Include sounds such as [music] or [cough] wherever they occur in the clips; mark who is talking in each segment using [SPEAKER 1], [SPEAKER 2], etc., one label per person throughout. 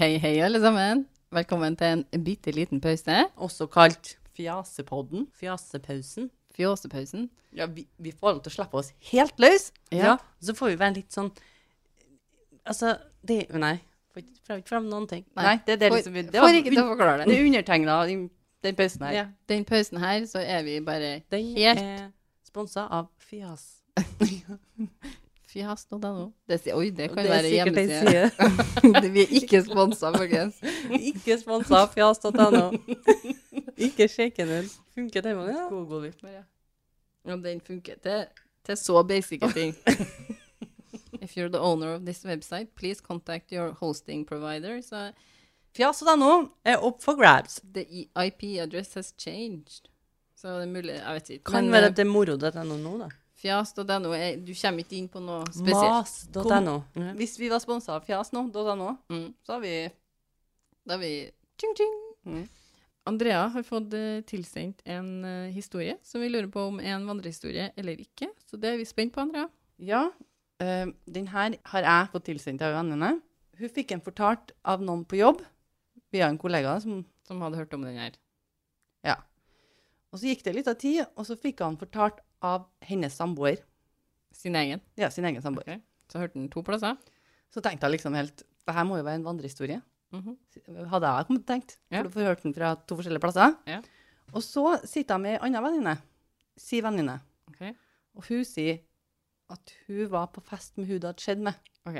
[SPEAKER 1] Hei, hei, alle sammen. Velkommen til en bitte liten pause.
[SPEAKER 2] Også kalt fjasepodden. Fjasepausen.
[SPEAKER 1] Fjåsepausen.
[SPEAKER 2] Ja, vi, vi får lov til å slippe oss helt løs.
[SPEAKER 1] Ja.
[SPEAKER 2] Så får vi være litt sånn Altså, det Nei. Får ikke får ikke fram noen ting.
[SPEAKER 1] Nei.
[SPEAKER 2] det er det
[SPEAKER 1] Får-
[SPEAKER 2] liksom Det
[SPEAKER 1] får ikke til å forklare
[SPEAKER 2] det
[SPEAKER 1] det.
[SPEAKER 2] er undertegna i den pausen her.
[SPEAKER 1] Ja. Den pausen her, så er vi bare
[SPEAKER 2] Den
[SPEAKER 1] Helt.
[SPEAKER 2] er sponsa av Fjas.
[SPEAKER 1] fjas.no. Det sier- Oi, det kan
[SPEAKER 2] Det er
[SPEAKER 1] være
[SPEAKER 2] sikkert en
[SPEAKER 1] hjemmeside. [laughs] vi er ikke sponsa, folkens.
[SPEAKER 2] [laughs] Ikke sponsa av fjas.no. [laughs] ikke sjekk den ut. Funker den vanligvis? Google vi.
[SPEAKER 1] Ja, den funker til, til så basic
[SPEAKER 2] [laughs]
[SPEAKER 1] ting. If you're the owner of this website, please contact your hosting provider. Så
[SPEAKER 2] Fjas.no er opp for grabs.
[SPEAKER 1] the IP address has changed. Så det er mulig, jeg vet ikke.
[SPEAKER 2] Kan
[SPEAKER 1] Men,
[SPEAKER 2] være
[SPEAKER 1] eh,
[SPEAKER 2] at det er moro det er noe nå, da.
[SPEAKER 1] Fjas.no, er- du kommer ikke inn på noe spesielt.
[SPEAKER 2] Mas.no.
[SPEAKER 1] Hvis vi var sponsa av fjas.no, mm. så har vi Da har vi tjing, tjing.
[SPEAKER 2] Mm.
[SPEAKER 1] Andrea har fått eh, tilsendt en eh, historie som vi lurer på om er en vandrehistorie eller ikke. Så det er vi spent på, Andrea.
[SPEAKER 2] Ja, eh, den her har jeg fått tilsendt av vennene. Hun fikk en fortalt av noen på jobb, via en kollega. Som,
[SPEAKER 1] Som hadde hørt om den her.
[SPEAKER 2] og så gikk det litt av tid, og så fikk han fortalt av hennes samboer.
[SPEAKER 1] Sin egen.
[SPEAKER 2] Ja, sin egen samboer.
[SPEAKER 1] Ok. Så hørte den to plasser.
[SPEAKER 2] Så tenkte jeg liksom helt Det her må jo være en vandrehistorie.
[SPEAKER 1] Mhm.
[SPEAKER 2] Hadde jeg kommet til å tenkt.
[SPEAKER 1] Ja.
[SPEAKER 2] For du får hørt den fra to forskjellige plasser.
[SPEAKER 1] Ja.
[SPEAKER 2] Og så sitter jeg med ei anna venninne. Si venninne.
[SPEAKER 1] Ok.
[SPEAKER 2] Og hun sier at hun var på fest med hun det hadde skjedd med.
[SPEAKER 1] Ok.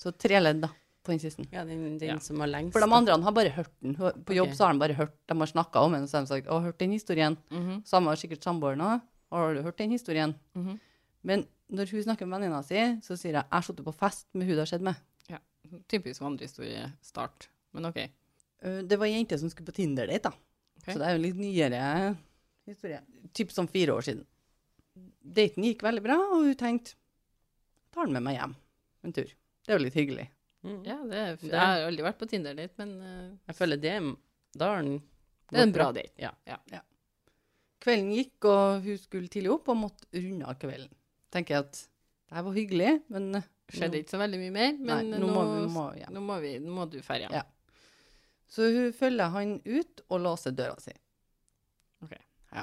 [SPEAKER 2] Så tre ledd, da, på den siste.
[SPEAKER 3] Ja, den, den
[SPEAKER 1] Ja.
[SPEAKER 3] som har lengst.
[SPEAKER 2] For de andre har bare hørt den. På jobb
[SPEAKER 3] Ok.
[SPEAKER 2] så har de bare hørt, de har snakka om den, og så har de sagt 'Å, hørt den historien'.
[SPEAKER 1] Mhm.
[SPEAKER 2] Samme har sikkert samboeren òg. 'Har du hørt den historien?'
[SPEAKER 1] Mhm.
[SPEAKER 2] Men når hun snakker med venninna si, så sier jeg 'Jeg har sittet på fest med hun det har skjedd med'.
[SPEAKER 1] Typisk vandrehistoriestart. Men OK.
[SPEAKER 2] Uh, Det var ei jente som skulle på Tinder-date, da.
[SPEAKER 1] Ok.
[SPEAKER 2] Så det er jo en litt nyere historie. Typ som fire år siden. Daten gikk veldig bra, og hun tenkte 'Tar den med meg hjem en tur'. Det er jo litt hyggelig.
[SPEAKER 3] Mm.
[SPEAKER 1] Ja, det er,
[SPEAKER 3] Det-
[SPEAKER 1] jeg har aldri vært på Tinder date, men eh,
[SPEAKER 3] Jeg føler det er- Da har den
[SPEAKER 1] det er en
[SPEAKER 3] gått
[SPEAKER 1] bra date.
[SPEAKER 3] Ja.
[SPEAKER 2] Kvelden gikk, og hun skulle tidlig opp og måtte runde av kvelden. Tenker jeg at det her var hyggelig, men uh, nå-
[SPEAKER 1] Skjedde ikke så veldig mye mer, men eh,
[SPEAKER 2] Nei,
[SPEAKER 1] nå,
[SPEAKER 2] nå må vi- må vi hjem.
[SPEAKER 1] nå, må vi, nå må du ferie.
[SPEAKER 2] Ja. Så hun følger han ut og låser døra si.
[SPEAKER 1] Ok.
[SPEAKER 2] Ja.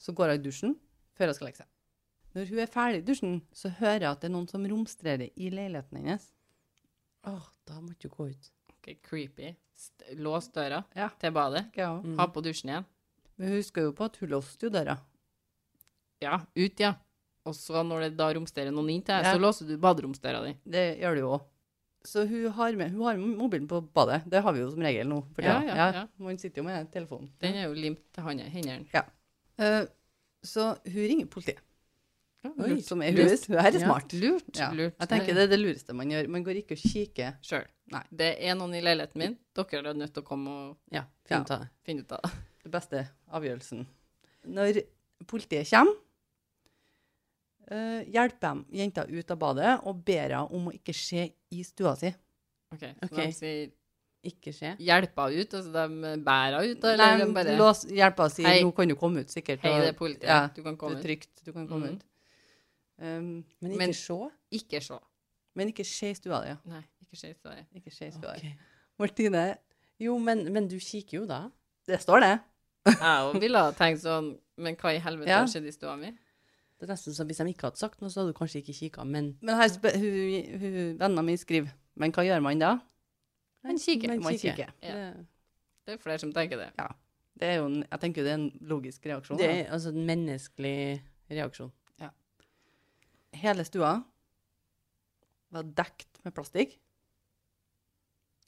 [SPEAKER 2] Så går hun i dusjen før hun skal legge seg. Når hun er ferdig i dusjen, så hører jeg at det er noen som romstrerer i leiligheten hennes.
[SPEAKER 3] Åh, da måtte du gå ut.
[SPEAKER 1] Ok, creepy. St Lås døra
[SPEAKER 2] Ja. Mm.
[SPEAKER 1] til badet.
[SPEAKER 2] Men
[SPEAKER 1] Ha på dusjen igjen.
[SPEAKER 2] hun husker jo på at hun låste jo døra.
[SPEAKER 1] Ja, ut, ja. Og så når det da romsterer noen inn til deg,
[SPEAKER 2] Ja.
[SPEAKER 1] så låser du baderomsdøra di.
[SPEAKER 2] Det gjør det jo òg. Så hun har, med, hun har mobilen på badet. Det har vi jo som regel nå. for
[SPEAKER 1] Ja,
[SPEAKER 2] tida.
[SPEAKER 1] ja, ja.
[SPEAKER 2] Man sitter jo med telefonen.
[SPEAKER 1] Den er jo limt til handa- hendene.
[SPEAKER 2] Eh, så hun ringer politiet,
[SPEAKER 1] Ja,
[SPEAKER 2] Hun
[SPEAKER 1] lurt.
[SPEAKER 2] som er hun. Hun her er
[SPEAKER 3] Ja.
[SPEAKER 2] smart.
[SPEAKER 1] Lurt.
[SPEAKER 2] Ja.
[SPEAKER 1] lurt.
[SPEAKER 2] Jeg tenker det er det lureste man gjør. Man går ikke og kikker
[SPEAKER 1] Sjøl.
[SPEAKER 2] Nei.
[SPEAKER 1] Det er noen i leiligheten min. Dere er nødt til å komme og
[SPEAKER 3] Ja,
[SPEAKER 2] Ja.
[SPEAKER 3] fint av det.
[SPEAKER 1] finne ut av det. [laughs]
[SPEAKER 2] det beste avgjørelsen. Når politiet kommer, eh, hjelper de jenta ut av badet og ber henne om å ikke se i stua si.
[SPEAKER 1] Ok, Så
[SPEAKER 3] Ok.
[SPEAKER 1] de sier
[SPEAKER 3] Ikke skje.
[SPEAKER 1] 'hjelpa ut', altså de bærer henne ut? da, Eller
[SPEAKER 2] Nei,
[SPEAKER 1] de bare
[SPEAKER 2] lås, hjelper henne å si
[SPEAKER 1] Hei.
[SPEAKER 2] 'nå kan du komme ut', sikkert.
[SPEAKER 1] Hei,
[SPEAKER 2] og-
[SPEAKER 1] det er politiet.
[SPEAKER 2] Ja,
[SPEAKER 1] du kan
[SPEAKER 2] det
[SPEAKER 1] komme
[SPEAKER 2] er
[SPEAKER 1] ut.
[SPEAKER 2] trygt, du kan komme
[SPEAKER 1] Mhm.
[SPEAKER 2] ut. Um,
[SPEAKER 3] Men ikke
[SPEAKER 1] Men-
[SPEAKER 3] se.
[SPEAKER 1] Ikke se.
[SPEAKER 2] men ikke se i stua di. ja.
[SPEAKER 1] Nei, ikke se i stedet.
[SPEAKER 2] Ikke se i stua di.
[SPEAKER 3] Ok.
[SPEAKER 2] Martine,
[SPEAKER 3] Jo, men, men du kikker jo da.
[SPEAKER 2] det står det.
[SPEAKER 1] Jeg ville ha tenkt sånn Men hva i helvete
[SPEAKER 2] Ja.
[SPEAKER 1] har skjedd i stua mi?
[SPEAKER 3] Det er nesten som hvis de ikke hadde sagt noe, så hadde du kanskje ikke kikka, men
[SPEAKER 2] Men her spør, hun, hun, vennene mine skriver 'men hva gjør man da?'
[SPEAKER 1] Men kikker.
[SPEAKER 3] Men
[SPEAKER 2] Man
[SPEAKER 3] kikker.
[SPEAKER 2] kikker.
[SPEAKER 1] Ja.
[SPEAKER 3] Det-
[SPEAKER 1] Det er flere som tenker det.
[SPEAKER 2] Det er jo en, jeg tenker det er en logisk reaksjon.
[SPEAKER 3] Det
[SPEAKER 2] da.
[SPEAKER 3] er altså en menneskelig reaksjon.
[SPEAKER 2] Hele stua var dekt med plastikk,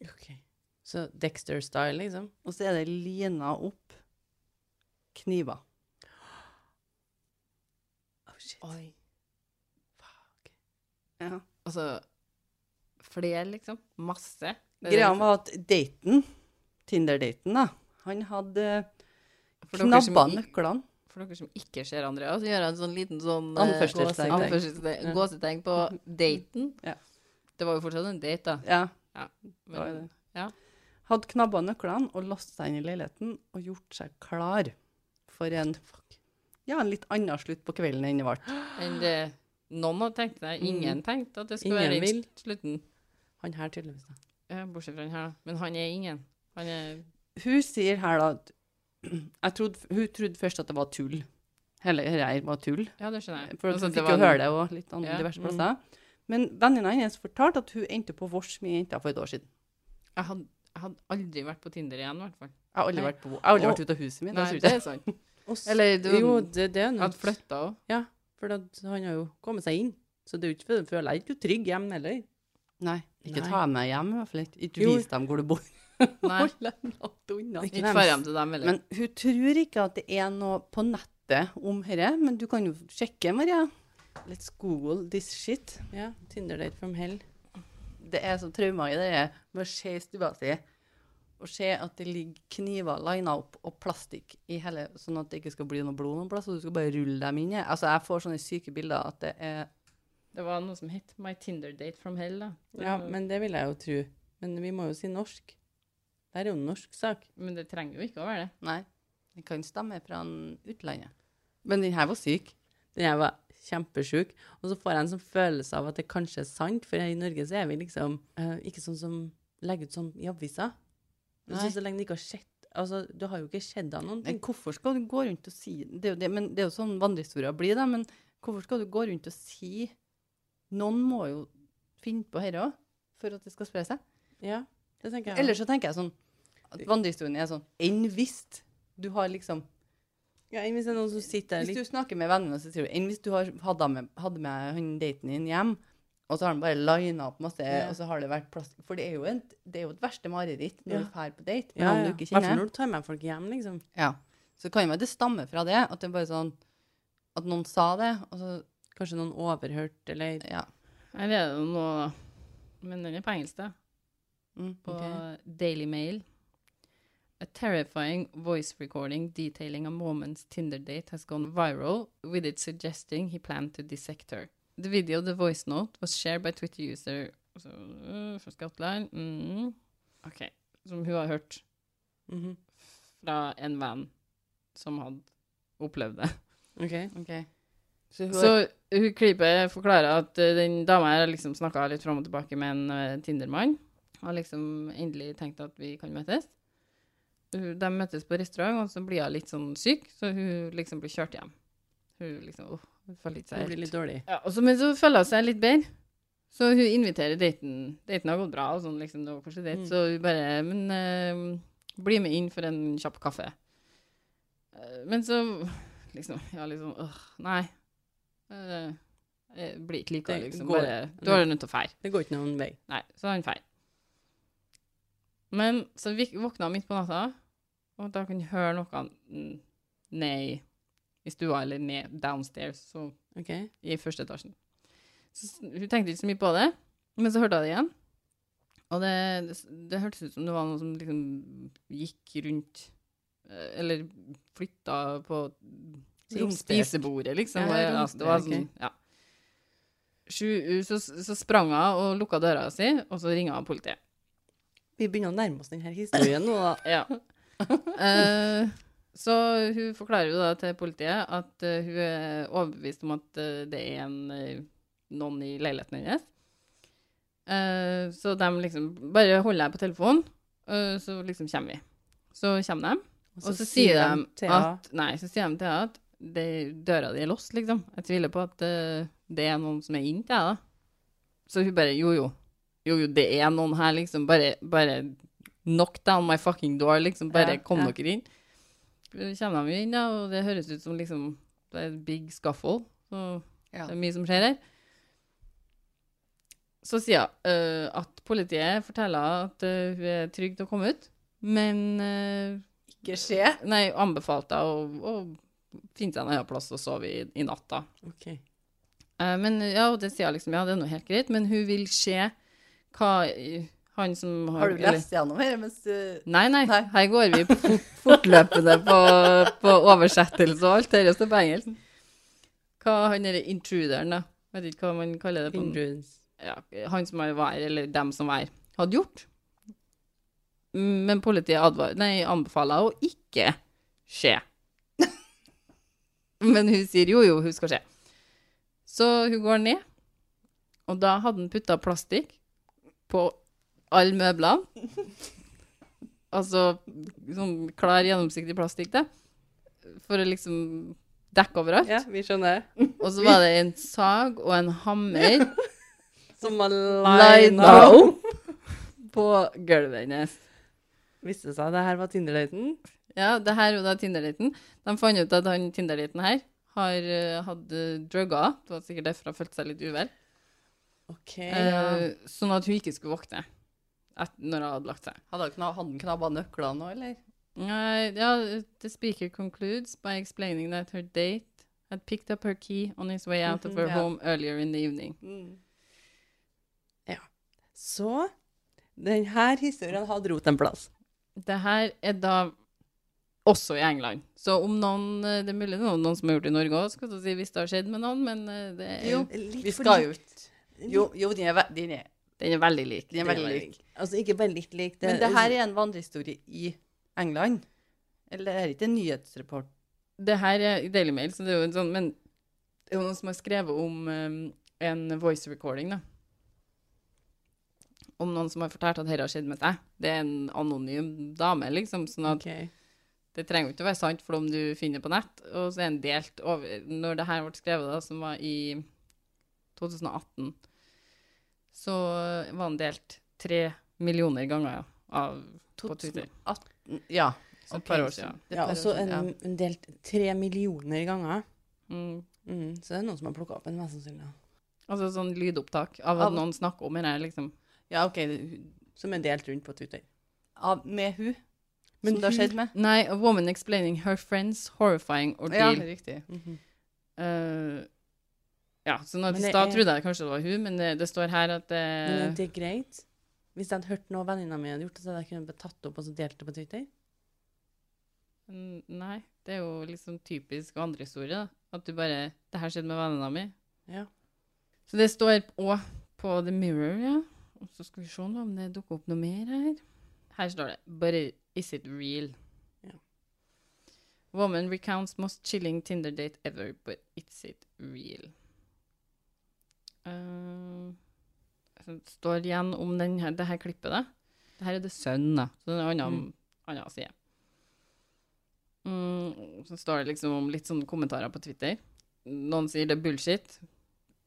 [SPEAKER 3] Ok. Så Dexter-style, liksom.
[SPEAKER 2] og så er det lina opp kniver.
[SPEAKER 3] Oh, shit.
[SPEAKER 1] Oi. Fuck.
[SPEAKER 2] Ja.
[SPEAKER 1] Altså Flere, liksom. Masse. Det liksom. er
[SPEAKER 2] Greia
[SPEAKER 1] det-
[SPEAKER 2] var at daten, Tinder-daten, da, han hadde
[SPEAKER 1] for dere som
[SPEAKER 2] knabba
[SPEAKER 1] i-
[SPEAKER 2] nøklene.
[SPEAKER 1] For dere som ikke ser Andrea, så gjør jeg en sånn liten sånn eh,
[SPEAKER 2] Anførselstegn.
[SPEAKER 1] anførselstegn-
[SPEAKER 3] Ja.
[SPEAKER 1] gåsetegn på daten.
[SPEAKER 2] Ja.
[SPEAKER 1] Det var jo fortsatt en date, da.
[SPEAKER 2] Ja, det var
[SPEAKER 1] Men,
[SPEAKER 2] det.
[SPEAKER 1] ja.
[SPEAKER 2] Hadde knabba nøklene og låst seg inn i leiligheten og gjort seg klar for en, ja, en litt annen slutt på kvelden enn det ble.
[SPEAKER 1] enn det noen hadde tenkt seg. Ingen tenkte at det skulle være
[SPEAKER 3] Ingen vil.
[SPEAKER 1] i slutten.
[SPEAKER 3] Han her, tydeligvis. da.
[SPEAKER 1] Ja, bortsett fra den her, da. Men han er ingen. Han er
[SPEAKER 2] Hun sier her da at [clears throat] jeg trodde, Hun trodde først at det var tull. Hele greier var tull.
[SPEAKER 1] Ja, det skjønner jeg.
[SPEAKER 2] For
[SPEAKER 1] Altså,
[SPEAKER 2] hun
[SPEAKER 1] det
[SPEAKER 2] fikk
[SPEAKER 1] var
[SPEAKER 2] jo
[SPEAKER 1] en-
[SPEAKER 2] høre det og litt andre
[SPEAKER 1] Ja,
[SPEAKER 2] diverse
[SPEAKER 1] mm.
[SPEAKER 2] plasser. Men venninna hennes fortalte at hun endte på vors med jenta for et år siden.
[SPEAKER 1] Jeg hadde, jeg hadde aldri vært på Tinder igjen, i hvert fall.
[SPEAKER 2] Jeg har aldri
[SPEAKER 1] Nei.
[SPEAKER 2] vært, på, jeg har aldri
[SPEAKER 3] Og-
[SPEAKER 2] vært ute av huset mitt.
[SPEAKER 1] Nei,
[SPEAKER 2] jeg tror
[SPEAKER 1] det
[SPEAKER 2] ikke.
[SPEAKER 1] er sant.
[SPEAKER 3] Og s-
[SPEAKER 1] Eller du
[SPEAKER 3] jo, det, det er
[SPEAKER 1] jeg hadde
[SPEAKER 3] noe.
[SPEAKER 1] flytta òg.
[SPEAKER 3] Ja, for at han har jo kommet seg inn. Så det er jo ikke for for jeg føler ikke trygg hjemme [laughs] heller.
[SPEAKER 2] Nei, ikke
[SPEAKER 3] Nei.
[SPEAKER 2] ta henne med hjem, i hvert fall ikke. Ikke
[SPEAKER 3] Jo.
[SPEAKER 2] vis dem hvor du bor.
[SPEAKER 1] Nei,
[SPEAKER 3] Hold dem langt unna.
[SPEAKER 1] ikke dra hjem til dem heller.
[SPEAKER 2] Men hun tror ikke at det er noe på nettet om dette, men du kan jo sjekke, Maria. Let's google this shit.
[SPEAKER 3] Ja, Tinder-date from hell.
[SPEAKER 2] Det er så traumer i det her med å se i stua si og se at det ligger kniver lina opp og plastikk i hele, sånn at det ikke skal bli noe blod noen plass, og du skal bare rulle dem inn i. Altså, jeg får sånne syke bilder at det er
[SPEAKER 1] Det var noe som het My Tinder Date from Hell. da. Det
[SPEAKER 3] Ja,
[SPEAKER 1] var-
[SPEAKER 3] men det vil jeg jo tro. Men vi må jo si norsk. Det er jo en norsk sak.
[SPEAKER 1] men det trenger jo ikke å være det.
[SPEAKER 2] Nei, det kan stemme fra en utlandet. Men den her var syk.
[SPEAKER 3] Den her var kjempesjuk. Og så får jeg en sånn følelse av at det kanskje er sant, for her i Norge så er vi liksom eh, ikke sånn som legger ut sånn i aviser. Jeg
[SPEAKER 2] Nei.
[SPEAKER 3] synes Så lenge det ikke har skjedd Altså, du har jo ikke skjedd av noen ting.
[SPEAKER 2] Men hvorfor skal du gå rundt og si Det er jo, det, men det er jo sånn vandrehistorier blir, da. Men hvorfor skal du gå rundt og si Noen må jo finne på dette òg, for at det skal spre seg.
[SPEAKER 3] Ja, det tenker jeg.
[SPEAKER 2] Ellers så tenker jeg sånn at vandrehistorien er sånn Enn hvis du har liksom
[SPEAKER 3] ja, enn hvis det er noen som sitter der
[SPEAKER 2] Hvis
[SPEAKER 3] litt
[SPEAKER 2] du snakker med vennene, så sier du Enn hvis du har, hadde han med, hadde med han daten din hjem, og så har han bare lina opp masse,
[SPEAKER 3] Ja.
[SPEAKER 2] og så har det vært plass For det er jo, en, det er jo et verste mareritt når
[SPEAKER 3] Ja.
[SPEAKER 2] du drar på date med
[SPEAKER 3] ja,
[SPEAKER 2] noen du
[SPEAKER 3] ja.
[SPEAKER 2] ikke
[SPEAKER 3] Hvertfall
[SPEAKER 2] kjenner.
[SPEAKER 3] når du tar med folk hjem, liksom.
[SPEAKER 2] Ja. Så kan jo være det stammer fra det, at det er bare sånn At noen sa det, og så
[SPEAKER 3] Kanskje noen overhørt, eller
[SPEAKER 2] Ja.
[SPEAKER 1] Her er det jo noe, da. Men den er på engelsk, da.
[SPEAKER 2] Mm,
[SPEAKER 1] På
[SPEAKER 2] ok.
[SPEAKER 1] Daily Mail. A terrifying voice recording detailing a woman's Tinder date has gone viral, with it suggesting he planned to dissect her. The video, the voice note, was shared by Twitter user så, øh, fra Skottland. Mm. Ok, som hun har hørt
[SPEAKER 3] Mhm.
[SPEAKER 1] fra en venn som hadde opplevd det.
[SPEAKER 3] OK.
[SPEAKER 2] Ok. Så hun
[SPEAKER 1] Så hun Creeper forklarer at eh, den dama her har liksom snakka litt fram og tilbake med en eh, Tinder-mann. Har liksom endelig tenkt at vi kan møtes. Hun- De møtes på restaurant, og så blir hun litt sånn syk, så hun liksom blir kjørt hjem. Hun liksom åh, hun føler ikke seg
[SPEAKER 3] Det blir litt dårlig.
[SPEAKER 1] ja, og så- men så føler hun seg litt bedre. Så hun inviterer daten. Daten har gått bra, og sånn liksom, det var kanskje date,
[SPEAKER 3] Mm.
[SPEAKER 1] så hun bare Men eh, bli med inn for en kjapp kaffe. Eh, men så liksom Ja, liksom Åh, nei. Eh, jeg blir ikke lika,
[SPEAKER 3] Det
[SPEAKER 1] liksom.
[SPEAKER 3] går-
[SPEAKER 1] Bare, du har nødt til å feire.
[SPEAKER 3] Det går ikke noen vei.
[SPEAKER 1] Nei, så han feil. Men så vik- våkna han midt på natta, og da kunne jeg høre noe mm, ned i- i stua, eller ned downstairs, så
[SPEAKER 3] OK?
[SPEAKER 1] i første etasjen. Så s- hun tenkte ikke så mye på det, men så hørte hun det igjen. Og det, det, s- det hørtes ut som det var noe som liksom gikk rundt eh, Eller flytta på
[SPEAKER 2] Romspek.
[SPEAKER 1] spisebordet, liksom.
[SPEAKER 2] Ja,
[SPEAKER 1] Ja,
[SPEAKER 2] romspek,
[SPEAKER 1] det var sånn,
[SPEAKER 2] ok.
[SPEAKER 1] ja. Sju- eh, Så, så sprang hun og lukka døra si, og så ringa hun politiet.
[SPEAKER 3] Vi begynner å nærme oss denne historien nå, da.
[SPEAKER 1] Ja. Eh, så hun forklarer jo da til politiet at eh, hun er overbevist om at eh, det er en, eh, noen i leiligheten hennes. Eh, så de liksom Bare holder jeg på telefonen, eh, så liksom kommer vi. Så kommer de, og så sier de
[SPEAKER 3] til henne
[SPEAKER 1] at Nei, så sier de til henne at det, døra di er låst, liksom. Jeg tviler på at eh, det er noen som er inn til henne. da. Så hun bare Jo, jo. Jo, jo, det er noen her, liksom. Bare, bare knock down my fucking door, liksom. Bare
[SPEAKER 3] Ja,
[SPEAKER 1] kom
[SPEAKER 3] ja.
[SPEAKER 1] dere inn. Så kommer de jo inn, da, og det høres ut som liksom det er et big scuffle. Så
[SPEAKER 2] Ja.
[SPEAKER 1] det er mye som skjer her. Så sier hun eh, at politiet forteller at eh, hun er trygg til å komme ut, men eh,
[SPEAKER 2] ikke skje.
[SPEAKER 1] Nei, anbefalte jeg å, å finne seg en annen plass å sove i, i natt, da.
[SPEAKER 3] OK.
[SPEAKER 1] Eh, men ja, og det sier jeg liksom, ja, det er nå helt greit, men hun vil se hva i- han som har
[SPEAKER 2] Har du
[SPEAKER 1] eller-
[SPEAKER 2] lest gjennom dette mens eh,
[SPEAKER 3] [laughs]
[SPEAKER 2] du
[SPEAKER 1] Nei, nei,
[SPEAKER 2] Nei.
[SPEAKER 1] her går vi på fort, fortløpende på, på oversettelse og alt, dette står på engelsk. Hva han derre intruderen, da, vet ikke hva man kaller det på
[SPEAKER 3] Hindrance.
[SPEAKER 1] ja, han som var her, eller dem som var her, hadde gjort. Mm, Men politiet advar, nei, anbefaler å ikke skje. [laughs] Men hun sier jo, jo, hun skal skje. Så hun går ned, og da hadde han putta plastikk på alle møblene. [laughs] Altså sånn klar, gjennomsiktig plastikk, det. For å liksom dekke overalt.
[SPEAKER 3] Ja, vi skjønner.
[SPEAKER 1] Og så var det en sag og en hammer
[SPEAKER 3] Som har
[SPEAKER 1] lina
[SPEAKER 3] lina opp.
[SPEAKER 1] opp [laughs] på gulvet hennes.
[SPEAKER 3] Viste seg det her var Tinder-daten.
[SPEAKER 1] Ja, det her var da Tinder-daten. De fant ut at han Tinder-daten her har eh, hatt eh, drugger. Det var sikkert derfor han følte seg litt uvel.
[SPEAKER 3] Ok.
[SPEAKER 1] Eh, sånn at hun ikke skulle våkne et, når hun hadde lagt seg.
[SPEAKER 2] Hadde han kna- hadde han knabba nøklene nå, eller?
[SPEAKER 1] Nei, ja, the speaker concludes by explaining that her date had picked up her key on his way out of
[SPEAKER 3] Mhm,
[SPEAKER 1] her
[SPEAKER 3] ja.
[SPEAKER 1] home earlier in the evening.
[SPEAKER 2] Mm.
[SPEAKER 3] Så denne historien hadde rot en plass.
[SPEAKER 1] Det her er da også i England. Så om noen eh, Det er mulig det er noen som har gjort det i Norge òg, skal jeg si, hvis det har skjedd med noen, men eh, det er,
[SPEAKER 2] Jo.
[SPEAKER 3] Litt
[SPEAKER 2] Vi
[SPEAKER 3] for
[SPEAKER 2] skal
[SPEAKER 3] likt.
[SPEAKER 2] jo ikke Jo, jo den, er, ve- den, er,
[SPEAKER 1] den er veldig lik.
[SPEAKER 2] den er veldig lik.
[SPEAKER 3] Altså ikke bare litt lik.
[SPEAKER 2] Men det her er en vandrehistorie i England. Eller er det ikke en nyhetsreport?
[SPEAKER 1] Det her er i Daily Mail, så det er jo en sånn Men det er jo noen som har skrevet om eh, en voice recording, da. Om noen som har fortalt at dette har skjedd med deg. Det er en anonym dame, liksom. Sånn at
[SPEAKER 3] Ok.
[SPEAKER 1] det trenger jo ikke å være sant for om du finner på nett. Og så er den delt over Når det her ble skrevet, da, som var i 2018, så var den delt tre millioner ganger av, på Twitter.
[SPEAKER 2] 2018 Ja.
[SPEAKER 1] Så
[SPEAKER 2] ok,
[SPEAKER 1] et par år siden.
[SPEAKER 2] det er et
[SPEAKER 3] Ja,
[SPEAKER 2] par år
[SPEAKER 3] og så
[SPEAKER 2] siden, ja.
[SPEAKER 3] en, en delt tre millioner ganger.
[SPEAKER 1] Mm.
[SPEAKER 3] Mm, så det er noen som har plukka opp en, mest sannsynlig.
[SPEAKER 1] Altså sånn lydopptak av at
[SPEAKER 2] Av-
[SPEAKER 1] noen snakker om dette, liksom.
[SPEAKER 2] Ja, OK. det-
[SPEAKER 3] Som er delt rundt på Twitter.
[SPEAKER 2] Av, med hun
[SPEAKER 3] Men
[SPEAKER 2] som det har
[SPEAKER 3] hun-
[SPEAKER 2] skjedd med?
[SPEAKER 1] Nei, a woman explaining her friend's horrifying
[SPEAKER 2] Ja,
[SPEAKER 1] ordeal.
[SPEAKER 2] riktig.
[SPEAKER 3] Mhm.
[SPEAKER 1] Eh, ja, så når
[SPEAKER 3] Men det
[SPEAKER 1] da
[SPEAKER 3] er-
[SPEAKER 1] trodde jeg kanskje det var hun, men det, det står her at eh, det,
[SPEAKER 3] Men
[SPEAKER 2] Eh.
[SPEAKER 3] er det greit? Hvis jeg hadde hørt noe venninna mi hadde gjort, så hadde jeg kunnet tatt det opp og så delt det på Twitter?
[SPEAKER 1] Mm, Nei, det er jo liksom typisk andre historie, da. At du bare Det her skjedde med vennene mi.
[SPEAKER 3] Ja.
[SPEAKER 1] Så det står òg på The Mirror, ja. Og så skal vi se nå om det dukker opp noe mer her. Her står det But is it real?
[SPEAKER 3] Ja.
[SPEAKER 1] Woman recounts most chilling Tinder date ever, but is it real? Eh, så det står igjen om den her, det her klippet, da. Det her er det sønnen, da. Så det er en annen,
[SPEAKER 3] Mm.
[SPEAKER 1] annen side. Mm, så står det liksom om litt sånne kommentarer på Twitter. Noen sier det er bullshit.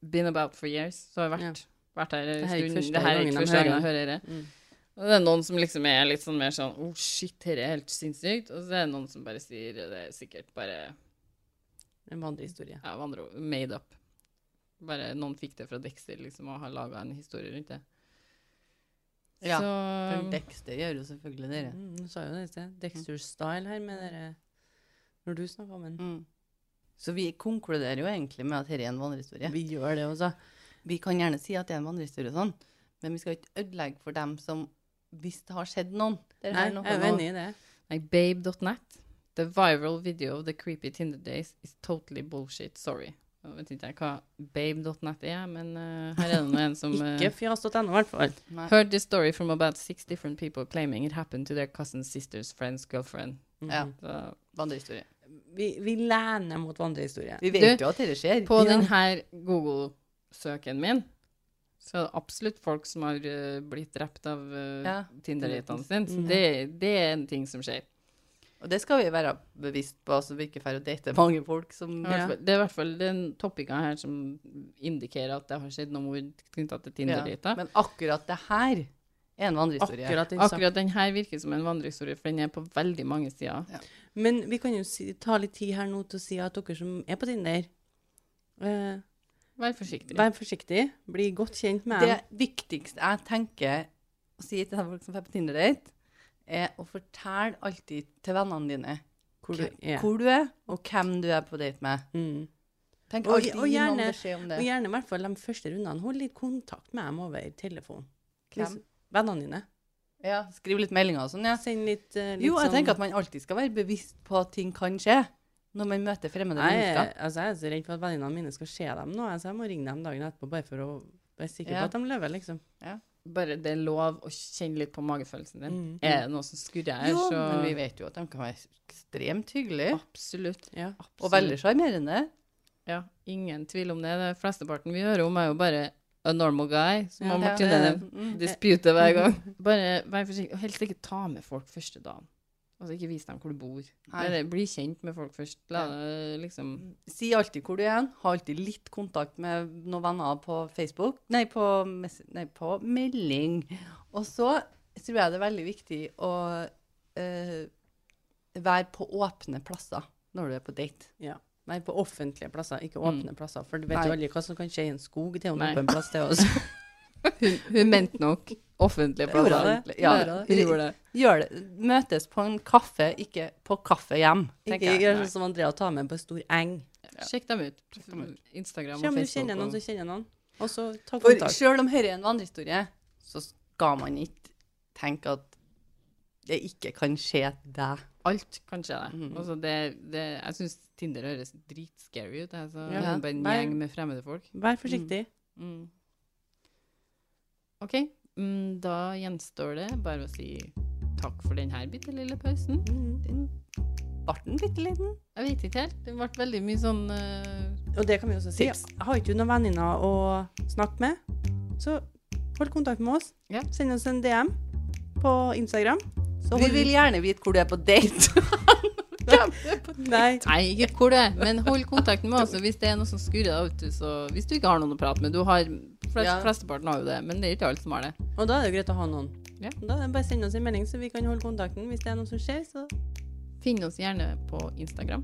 [SPEAKER 1] Been about for years. Så har jeg vært, vært her en
[SPEAKER 3] Det her er ikke
[SPEAKER 1] stund.
[SPEAKER 3] første
[SPEAKER 1] Det her er
[SPEAKER 3] gangen
[SPEAKER 1] ikke
[SPEAKER 3] de
[SPEAKER 1] første gang jeg
[SPEAKER 3] hører
[SPEAKER 1] hører det.
[SPEAKER 3] Mm.
[SPEAKER 1] Og det er noen som liksom er litt sånn mer sånn Oh shit, dette er helt sinnssykt. Og så er det noen som bare sier det er sikkert bare
[SPEAKER 3] En vandrehistorie.
[SPEAKER 1] ja, med andre ord, made up. Bare noen fikk det fra Dexter liksom, og har laga en historie rundt det.
[SPEAKER 2] Ja,
[SPEAKER 1] så
[SPEAKER 2] For Dexter gjør jo selvfølgelig det.
[SPEAKER 3] Mm, du sa jo det i sted. Dexter Style her med dere Når du snakka om den.
[SPEAKER 2] Mm. Så vi konkluderer jo egentlig med at dette er en vandrehistorie.
[SPEAKER 3] Vi gjør det også.
[SPEAKER 2] Vi kan gjerne si at det er en vandrehistorie, og sånn, men vi skal ikke ødelegge for dem som Hvis det har skjedd noen. Det er
[SPEAKER 3] Nei,
[SPEAKER 2] noe
[SPEAKER 3] jeg er jo
[SPEAKER 2] nå-
[SPEAKER 3] enig i det.
[SPEAKER 1] Nei, babe.net. The viral video of the creepy Tinder days is totally bullshit. Sorry. Jeg vet ikke jeg hva babe.net er, men eh, her er det nå en
[SPEAKER 2] [laughs]
[SPEAKER 1] som eh,
[SPEAKER 3] Ikke fjas.no, i hvert fall.
[SPEAKER 2] Nei.
[SPEAKER 1] Heard this story from about six different people claiming it happened to their cousin's sister's friend's girlfriend.
[SPEAKER 2] Ja,
[SPEAKER 1] Så,
[SPEAKER 2] vandrehistorie.
[SPEAKER 3] Mm. Vi, vi lener mot vandrehistorie.
[SPEAKER 2] Vi
[SPEAKER 1] Du,
[SPEAKER 2] vet jo at dette skjer.
[SPEAKER 1] på
[SPEAKER 3] Ja.
[SPEAKER 1] denne Google-søken min, så er det absolutt folk som har eh, blitt drept av uh,
[SPEAKER 2] Ja. Mm.
[SPEAKER 1] Tinder-datene sine. Så
[SPEAKER 3] Mhm.
[SPEAKER 1] det, det er en ting som skjer.
[SPEAKER 2] Og det skal vi være bevisst på, så vi ikke får å date mange folk som
[SPEAKER 1] I hvert fall- Det er i hvert fall den topicen her som indikerer at det har skjedd noe mord knytta til Tinder-dater.
[SPEAKER 2] Men akkurat det her er en vandrehistorie.
[SPEAKER 3] Akkurat den saken.
[SPEAKER 1] Akkurat den her virker som en vandrehistorie, for den er på veldig mange sider.
[SPEAKER 3] Men vi kan jo si, ta litt tid her nå til å si at dere som er på Tinder, eh,
[SPEAKER 1] Vær forsiktig.
[SPEAKER 3] vær forsiktig. Bli godt kjent med
[SPEAKER 2] Det
[SPEAKER 3] dem.
[SPEAKER 2] viktigste jeg tenker å si til de folk som er på Tinder-date, er å fortelle alltid til vennene dine
[SPEAKER 3] Hvor du er.
[SPEAKER 2] hvor du er, og hvem du er på date med.
[SPEAKER 3] Mm.
[SPEAKER 2] Tenk
[SPEAKER 3] Og-
[SPEAKER 2] alltid
[SPEAKER 3] og
[SPEAKER 2] gi noen
[SPEAKER 3] gjerne-
[SPEAKER 2] beskjed om det.
[SPEAKER 3] Og gjerne i hvert fall de første rundene. Hold litt kontakt med dem over telefon.
[SPEAKER 2] Hvem?
[SPEAKER 3] Hvis- Vennene dine.
[SPEAKER 2] Ja, skriv litt meldinger og sånn, ja.
[SPEAKER 3] Send litt, eh, litt
[SPEAKER 2] Jo, jeg
[SPEAKER 3] sånn-
[SPEAKER 2] tenker at man alltid skal være bevisst på at ting kan skje når man møter fremmede
[SPEAKER 3] Jeg, er-
[SPEAKER 2] mennesker.
[SPEAKER 3] altså, jeg er så redd for at venninnene mine skal se dem nå, så jeg må ringe dem dagen etterpå bare for å være sikker
[SPEAKER 2] Ja.
[SPEAKER 3] på at de lever, liksom.
[SPEAKER 1] Bare det er lov å kjenne litt på magefølelsen din.
[SPEAKER 3] Mm.
[SPEAKER 1] Er det noe som skurrer her, så
[SPEAKER 2] Jo, men vi vet jo at de kan være ekstremt hyggelige.
[SPEAKER 1] Absolutt.
[SPEAKER 3] Ja.
[SPEAKER 2] Og veldig sjarmerende.
[SPEAKER 1] Ja, ingen tvil om det. Det flesteparten vi hører om, er jo bare A normal guy, som
[SPEAKER 3] Ja,
[SPEAKER 1] ja,
[SPEAKER 3] det-
[SPEAKER 1] Martine nevnte.
[SPEAKER 2] Mm.
[SPEAKER 1] Dispute hver gang. Eh, [laughs] Bare vær forsiktig. Og helst ikke ta med folk første dagen. Altså ikke vis dem hvor du bor.
[SPEAKER 2] Nei.
[SPEAKER 1] Bare bli kjent med folk først. La det liksom
[SPEAKER 2] Si alltid hvor du er hen. Ha alltid litt kontakt med noen venner på Facebook. Nei, på, mess- nei, på melding. Og så tror jeg det er veldig viktig å eh, være på åpne plasser når du er på date.
[SPEAKER 3] Ja. Nei, på offentlige plasser, ikke
[SPEAKER 1] Mm.
[SPEAKER 3] åpne plasser. For du vet
[SPEAKER 2] Nei.
[SPEAKER 3] jo aldri hva som kan skje i en skog. Det er jo en
[SPEAKER 1] Nei.
[SPEAKER 3] åpen plass, det også.
[SPEAKER 1] [laughs] Hun, hun mente nok offentlige
[SPEAKER 2] Gjorde
[SPEAKER 1] plasser.
[SPEAKER 2] det?
[SPEAKER 1] Ja,
[SPEAKER 2] Gjorde
[SPEAKER 1] hun
[SPEAKER 2] det?
[SPEAKER 1] gjorde det.
[SPEAKER 2] Gjør det. Møtes på en kaffe, ikke på kaffe hjem. [laughs] tenker
[SPEAKER 3] Ikke
[SPEAKER 2] jeg.
[SPEAKER 3] gjør sånn som Andrea tar med på en stor eng.
[SPEAKER 1] Sjekk dem ut.
[SPEAKER 2] dem ut.
[SPEAKER 1] Instagram og
[SPEAKER 3] Se om du
[SPEAKER 1] Facebook.
[SPEAKER 3] kjenner noen
[SPEAKER 1] og-
[SPEAKER 3] som kjenner noen, og så ta
[SPEAKER 2] For
[SPEAKER 3] kontakt.
[SPEAKER 2] selv om dette er en vandrehistorie, så skal man ikke tenke at det ikke kan skje deg.
[SPEAKER 1] Alt kan skje deg.
[SPEAKER 2] Mhm.
[SPEAKER 1] Altså det, det, jeg syns Tinder høres dritscary ut. Altså.
[SPEAKER 3] Ja.
[SPEAKER 1] Det er Bare en
[SPEAKER 3] Nei.
[SPEAKER 1] gjeng med fremmede folk.
[SPEAKER 3] Vær forsiktig.
[SPEAKER 1] Mm. OK. Mm, da gjenstår det bare å si takk for denne bitte lille pausen.
[SPEAKER 2] Den barten bitte liten.
[SPEAKER 1] Jeg vet ikke helt. Det ble veldig mye sånn eh,
[SPEAKER 3] Og det kan vi også si.
[SPEAKER 1] Tips.
[SPEAKER 3] Har ikke du noen venninner å snakke med, så hold kontakt med oss.
[SPEAKER 1] Ja.
[SPEAKER 3] Send oss en DM på Instagram. Så
[SPEAKER 2] Vi
[SPEAKER 3] holder
[SPEAKER 2] vil gjerne vite hvor du er på date.
[SPEAKER 3] Nei.
[SPEAKER 1] Nei, ikke hvor det er, men hold kontakten med oss. og Hvis det er noe som skurrer deg, vet du, så Hvis du ikke har noen å prate med Du har flest,
[SPEAKER 2] Ja.
[SPEAKER 1] Flesteparten har jo det, men det er ikke alle som har det.
[SPEAKER 3] Og da er det jo greit å ha noen.
[SPEAKER 1] Ja.
[SPEAKER 3] Da er det bare å sende oss en melding, så vi kan holde kontakten hvis det er noe som skjer. Så
[SPEAKER 1] Finn oss gjerne på Instagram.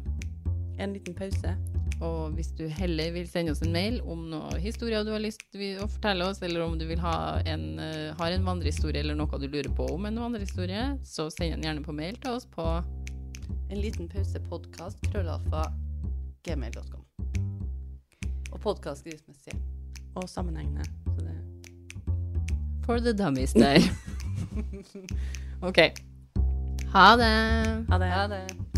[SPEAKER 3] en liten pause.
[SPEAKER 1] Og hvis du heller vil sende oss en mail om noen historier du har lyst til å fortelle oss, eller om du vil ha en, eh, har en vandrehistorie eller noe du lurer på om en vandrehistorie, så send den gjerne på mail til oss på
[SPEAKER 2] En liten pause podkast, krøllalfa, gmail.com. Og podkast skrives med C.
[SPEAKER 3] Og sammenhengende. Så det
[SPEAKER 1] For the Dummies
[SPEAKER 2] [laughs]
[SPEAKER 1] der. OK. Ha det.
[SPEAKER 3] Ha det.
[SPEAKER 2] Ha det.